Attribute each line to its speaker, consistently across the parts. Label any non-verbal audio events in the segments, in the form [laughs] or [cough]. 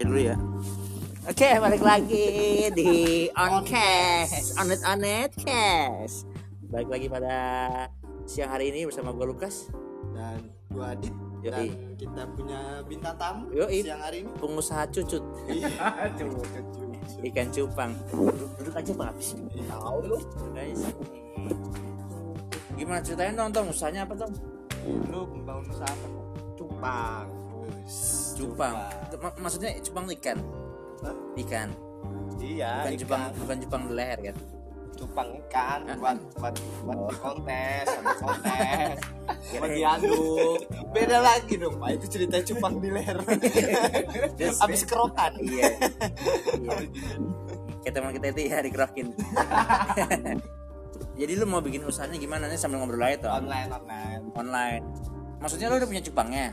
Speaker 1: dulu ya Oke, balik lagi di Oncast, On It On It Cast. Balik lagi pada siang hari ini bersama gue Lukas,
Speaker 2: dan gua Adit
Speaker 1: Yoi.
Speaker 2: dan kita punya bintang tamu
Speaker 1: Yoi.
Speaker 2: siang hari [laughs] ini
Speaker 1: pengusaha cucut ikan cupang. Duduk- Duduk aja Bang Abis.
Speaker 2: tahu lu
Speaker 1: Guys. Gimana ceritain dong, Tong? Usahanya apa, Tong?
Speaker 2: lu membangun usaha apa cupang Wes,
Speaker 1: Cupang. Ma- maksudnya cupang tuh ikan.
Speaker 2: Hah?
Speaker 1: Ikan.
Speaker 2: iya
Speaker 1: Bukan
Speaker 2: ikan.
Speaker 1: cupang, bukan cupang di leher kan.
Speaker 2: cupang [laughs] ikan
Speaker 1: Ah.
Speaker 2: buat buat buat di kontes buat [laughs] kontes buat
Speaker 1: Kirain.
Speaker 2: diaduk beda lagi dong pak itu cerita cupang di [laughs] leher abis kerokan
Speaker 1: Iya. Iya. Kayak teman kita itu ya dikerokin. Jadi lu mau bikin usahanya gimana nih sambil ngobrol aja tuh
Speaker 2: online online
Speaker 1: online. Maksudnya lu udah punya cupangnya?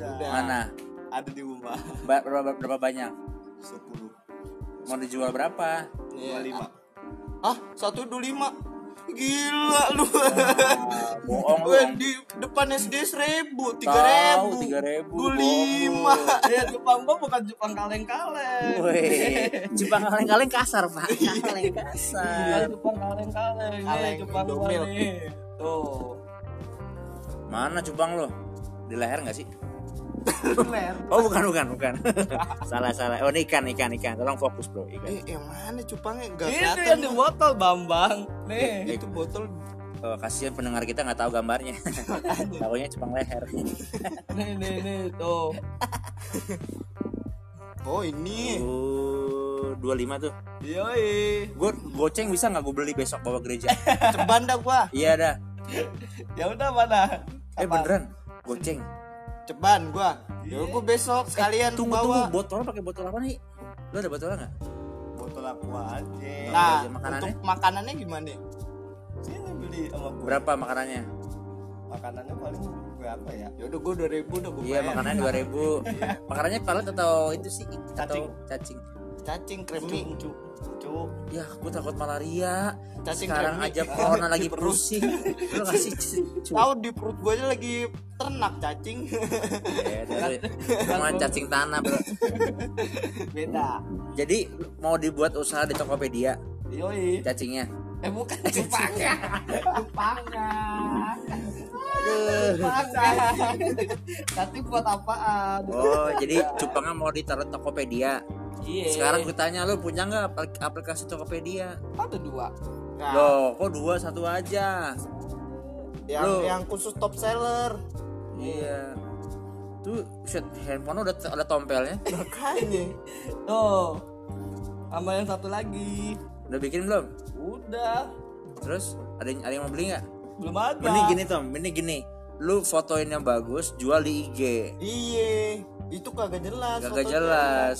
Speaker 2: udah
Speaker 1: Mana?
Speaker 2: ada di rumah
Speaker 1: Ba- berapa, berapa banyak?
Speaker 2: sepuluh
Speaker 1: Mau dijual berapa?
Speaker 2: dua lima ah satu dua lima gila lu
Speaker 1: Ah, bohong lu.
Speaker 2: Weh, di depan SD seribu tiga
Speaker 1: Tahu,
Speaker 2: ribu
Speaker 1: 3.000,
Speaker 2: dua lima
Speaker 1: bohong
Speaker 2: ya Jepang gua bukan Jepang kaleng kaleng
Speaker 1: Weh, [laughs] cupang kaleng-kaleng kasar, Pak. Kaleng kasar.
Speaker 2: Jepang kaleng kaleng
Speaker 3: Kaleng,
Speaker 2: Jepang gua
Speaker 3: Indomil.
Speaker 2: nih tuh
Speaker 1: Mana cupang lo? Di leher nggak sih?
Speaker 2: ler
Speaker 1: Oh bukan bukan bukan. [laughs] salah salah. Oh ini ikan ikan ikan. Tolong fokus bro. Ikan.
Speaker 3: Eh, yang mana cupangnya enggak
Speaker 2: itu
Speaker 3: kelihatan.
Speaker 2: yang di botol Bambang nih
Speaker 3: Itu botol
Speaker 1: Oh, kasihan pendengar kita nggak tahu gambarnya. Tahunya cupang leher.
Speaker 2: nih nih nih tuh
Speaker 3: Oh, ini.
Speaker 1: dua lima tuh.
Speaker 2: yoi
Speaker 1: Gue goceng bisa nggak gue beli besok bawa
Speaker 3: [laughs]
Speaker 1: gereja?
Speaker 3: Eh, Ceban dah gua.
Speaker 1: iya dah.
Speaker 2: ya udah mana
Speaker 1: Eh beneran? Goceng.
Speaker 3: Ceban gua. Ya
Speaker 2: Iya.
Speaker 3: gua besok
Speaker 2: Eh,
Speaker 3: sekalian
Speaker 1: Tunggu
Speaker 3: bawa.
Speaker 1: tunggu botol pakai botol apa nih? Lo ada botol nggak?
Speaker 2: botol aqua aja Iya,
Speaker 3: Nah,
Speaker 1: Aja makanannya.
Speaker 3: untuk makanannya gimana?
Speaker 2: sini beli sama gua
Speaker 1: Berapa makanannya?
Speaker 2: makanannya paling berapa ya
Speaker 3: Ya udah gua 2000 udah gua
Speaker 1: Iya
Speaker 3: bayar.
Speaker 1: makanannya dua
Speaker 3: [laughs]
Speaker 1: ribu. Makanannya pelet atau itu sih atau cacing.
Speaker 3: Cacing kremi.
Speaker 2: cuk cuk
Speaker 1: Ya, gue takut malaria.
Speaker 3: Cacing
Speaker 1: Sekarang
Speaker 3: kremi.
Speaker 1: aja corona lagi pusing. Lu
Speaker 3: [laughs]
Speaker 1: ngasih c- cu-
Speaker 3: Tahu di perut gua aja lagi ternak cacing. [laughs]
Speaker 1: Eh, dari- Cuman cacing tanah, bro.
Speaker 3: Beda.
Speaker 1: Jadi mau dibuat usaha di Tokopedia
Speaker 2: yoi
Speaker 1: cacingnya.
Speaker 2: eh
Speaker 1: [laughs]
Speaker 2: bukan cupangnya cupangnya
Speaker 1: Aduh.
Speaker 2: tapi buat apaan
Speaker 1: Oh, jadi cupangnya mau ditaruh Tokopedia.
Speaker 2: iya
Speaker 1: Sekarang gue tanya lu punya nggak apl- aplikasi Tokopedia?
Speaker 2: ada dua
Speaker 3: Nah,
Speaker 1: Loh, kok dua satu aja?
Speaker 3: yang
Speaker 1: Loh.
Speaker 3: yang khusus top seller.
Speaker 1: Iya. Tuh, shit, handphone lu udah ada tompelnya.
Speaker 3: Makanya.
Speaker 2: tuh sama yang satu lagi
Speaker 1: Udah bikin belum?
Speaker 2: udah
Speaker 1: Terus ada yang, ada yang mau beli nggak?
Speaker 2: belum ada
Speaker 1: Mending gini Tom, mending gini. Lu fotoin yang bagus, jual di IG.
Speaker 3: Iya, itu kagak jelas.
Speaker 1: Gak
Speaker 3: fotonya.
Speaker 1: jelas.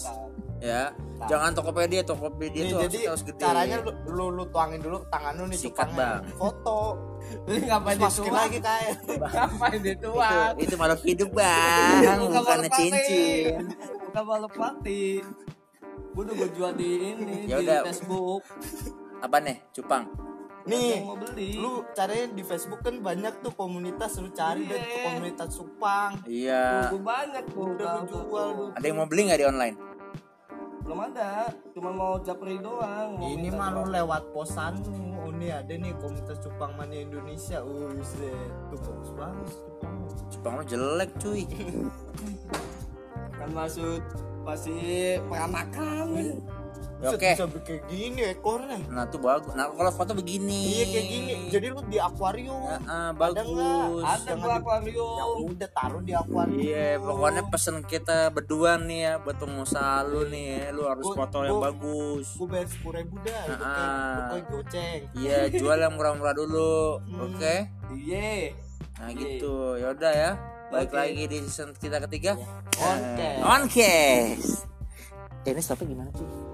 Speaker 1: Ya, jangan Tokopedia, Tokopedia
Speaker 3: Nih,
Speaker 1: itu
Speaker 3: jadi
Speaker 1: harus, harus gede.
Speaker 3: caranya lu, lu, lu tuangin dulu ke tangan lu nih
Speaker 1: Sikat,
Speaker 3: cupangnya.
Speaker 1: Bang. [laughs]
Speaker 3: foto
Speaker 2: Ini ngapain
Speaker 3: terus masukin
Speaker 2: dituang
Speaker 3: lagi kayak
Speaker 2: ngapain
Speaker 1: itu,
Speaker 2: dituang
Speaker 1: itu makhluk
Speaker 3: [laughs]
Speaker 1: hidup bang, bukan cincin.
Speaker 2: bukan balap pati gue udah gue jual di ini
Speaker 1: Ya
Speaker 2: di
Speaker 1: udah.
Speaker 2: Facebook
Speaker 1: Apa nih, cupang?
Speaker 3: nih
Speaker 2: Yang mau beli
Speaker 3: lu caranya di Facebook kan banyak tuh komunitas lu cari
Speaker 2: Iya.
Speaker 3: dari komunitas supang
Speaker 1: Iya.
Speaker 2: gue banyak tuh
Speaker 3: udah
Speaker 2: udah
Speaker 3: lu jual
Speaker 2: tuh.
Speaker 3: lu
Speaker 1: Ada yang mau beli nggak di online?
Speaker 2: belum ada cuma mau japri doang mau
Speaker 3: ini mah
Speaker 2: minta
Speaker 3: lu
Speaker 2: doang.
Speaker 3: lewat posan oh ini ada nih komunitas cupang mana Indonesia Uset, tuh bagus banget cupang
Speaker 1: Cupang lu jelek
Speaker 3: [laughs]
Speaker 1: cuy.
Speaker 2: kan maksud masih peranakan
Speaker 1: Ya,
Speaker 3: Buset,
Speaker 1: Oke.
Speaker 3: bisa bikin gini ekornya
Speaker 1: Nah tuh bagus. Nah kalau foto begini.
Speaker 3: iya kayak gini jadi lu di akuarium
Speaker 1: Ya, ah,
Speaker 3: Ada nggak?
Speaker 1: bagus.
Speaker 2: ada
Speaker 3: Nah, jangan
Speaker 2: gua
Speaker 3: di- ya
Speaker 2: akuarium
Speaker 3: udah taruh di akuarium
Speaker 1: Iya, pokoknya pesen kita berdua nih ya buat pengusaha lu nih ya, lu harus
Speaker 3: Gua-
Speaker 1: foto yang
Speaker 3: gua-
Speaker 1: bagus.
Speaker 3: gue bayar sepuluh ribu dah itu kayak
Speaker 1: Ah.
Speaker 3: itu kayak goceng
Speaker 1: Iya, jual yang murah-murah dulu,
Speaker 3: Hmm.
Speaker 1: oke?
Speaker 2: iya
Speaker 1: Nah
Speaker 2: Oke.
Speaker 1: gitu, yaudah ya. Balik
Speaker 2: Oke.
Speaker 1: lagi di season kita ketiga.
Speaker 3: oke
Speaker 1: On case. Eh, ini stopnya gimana sih?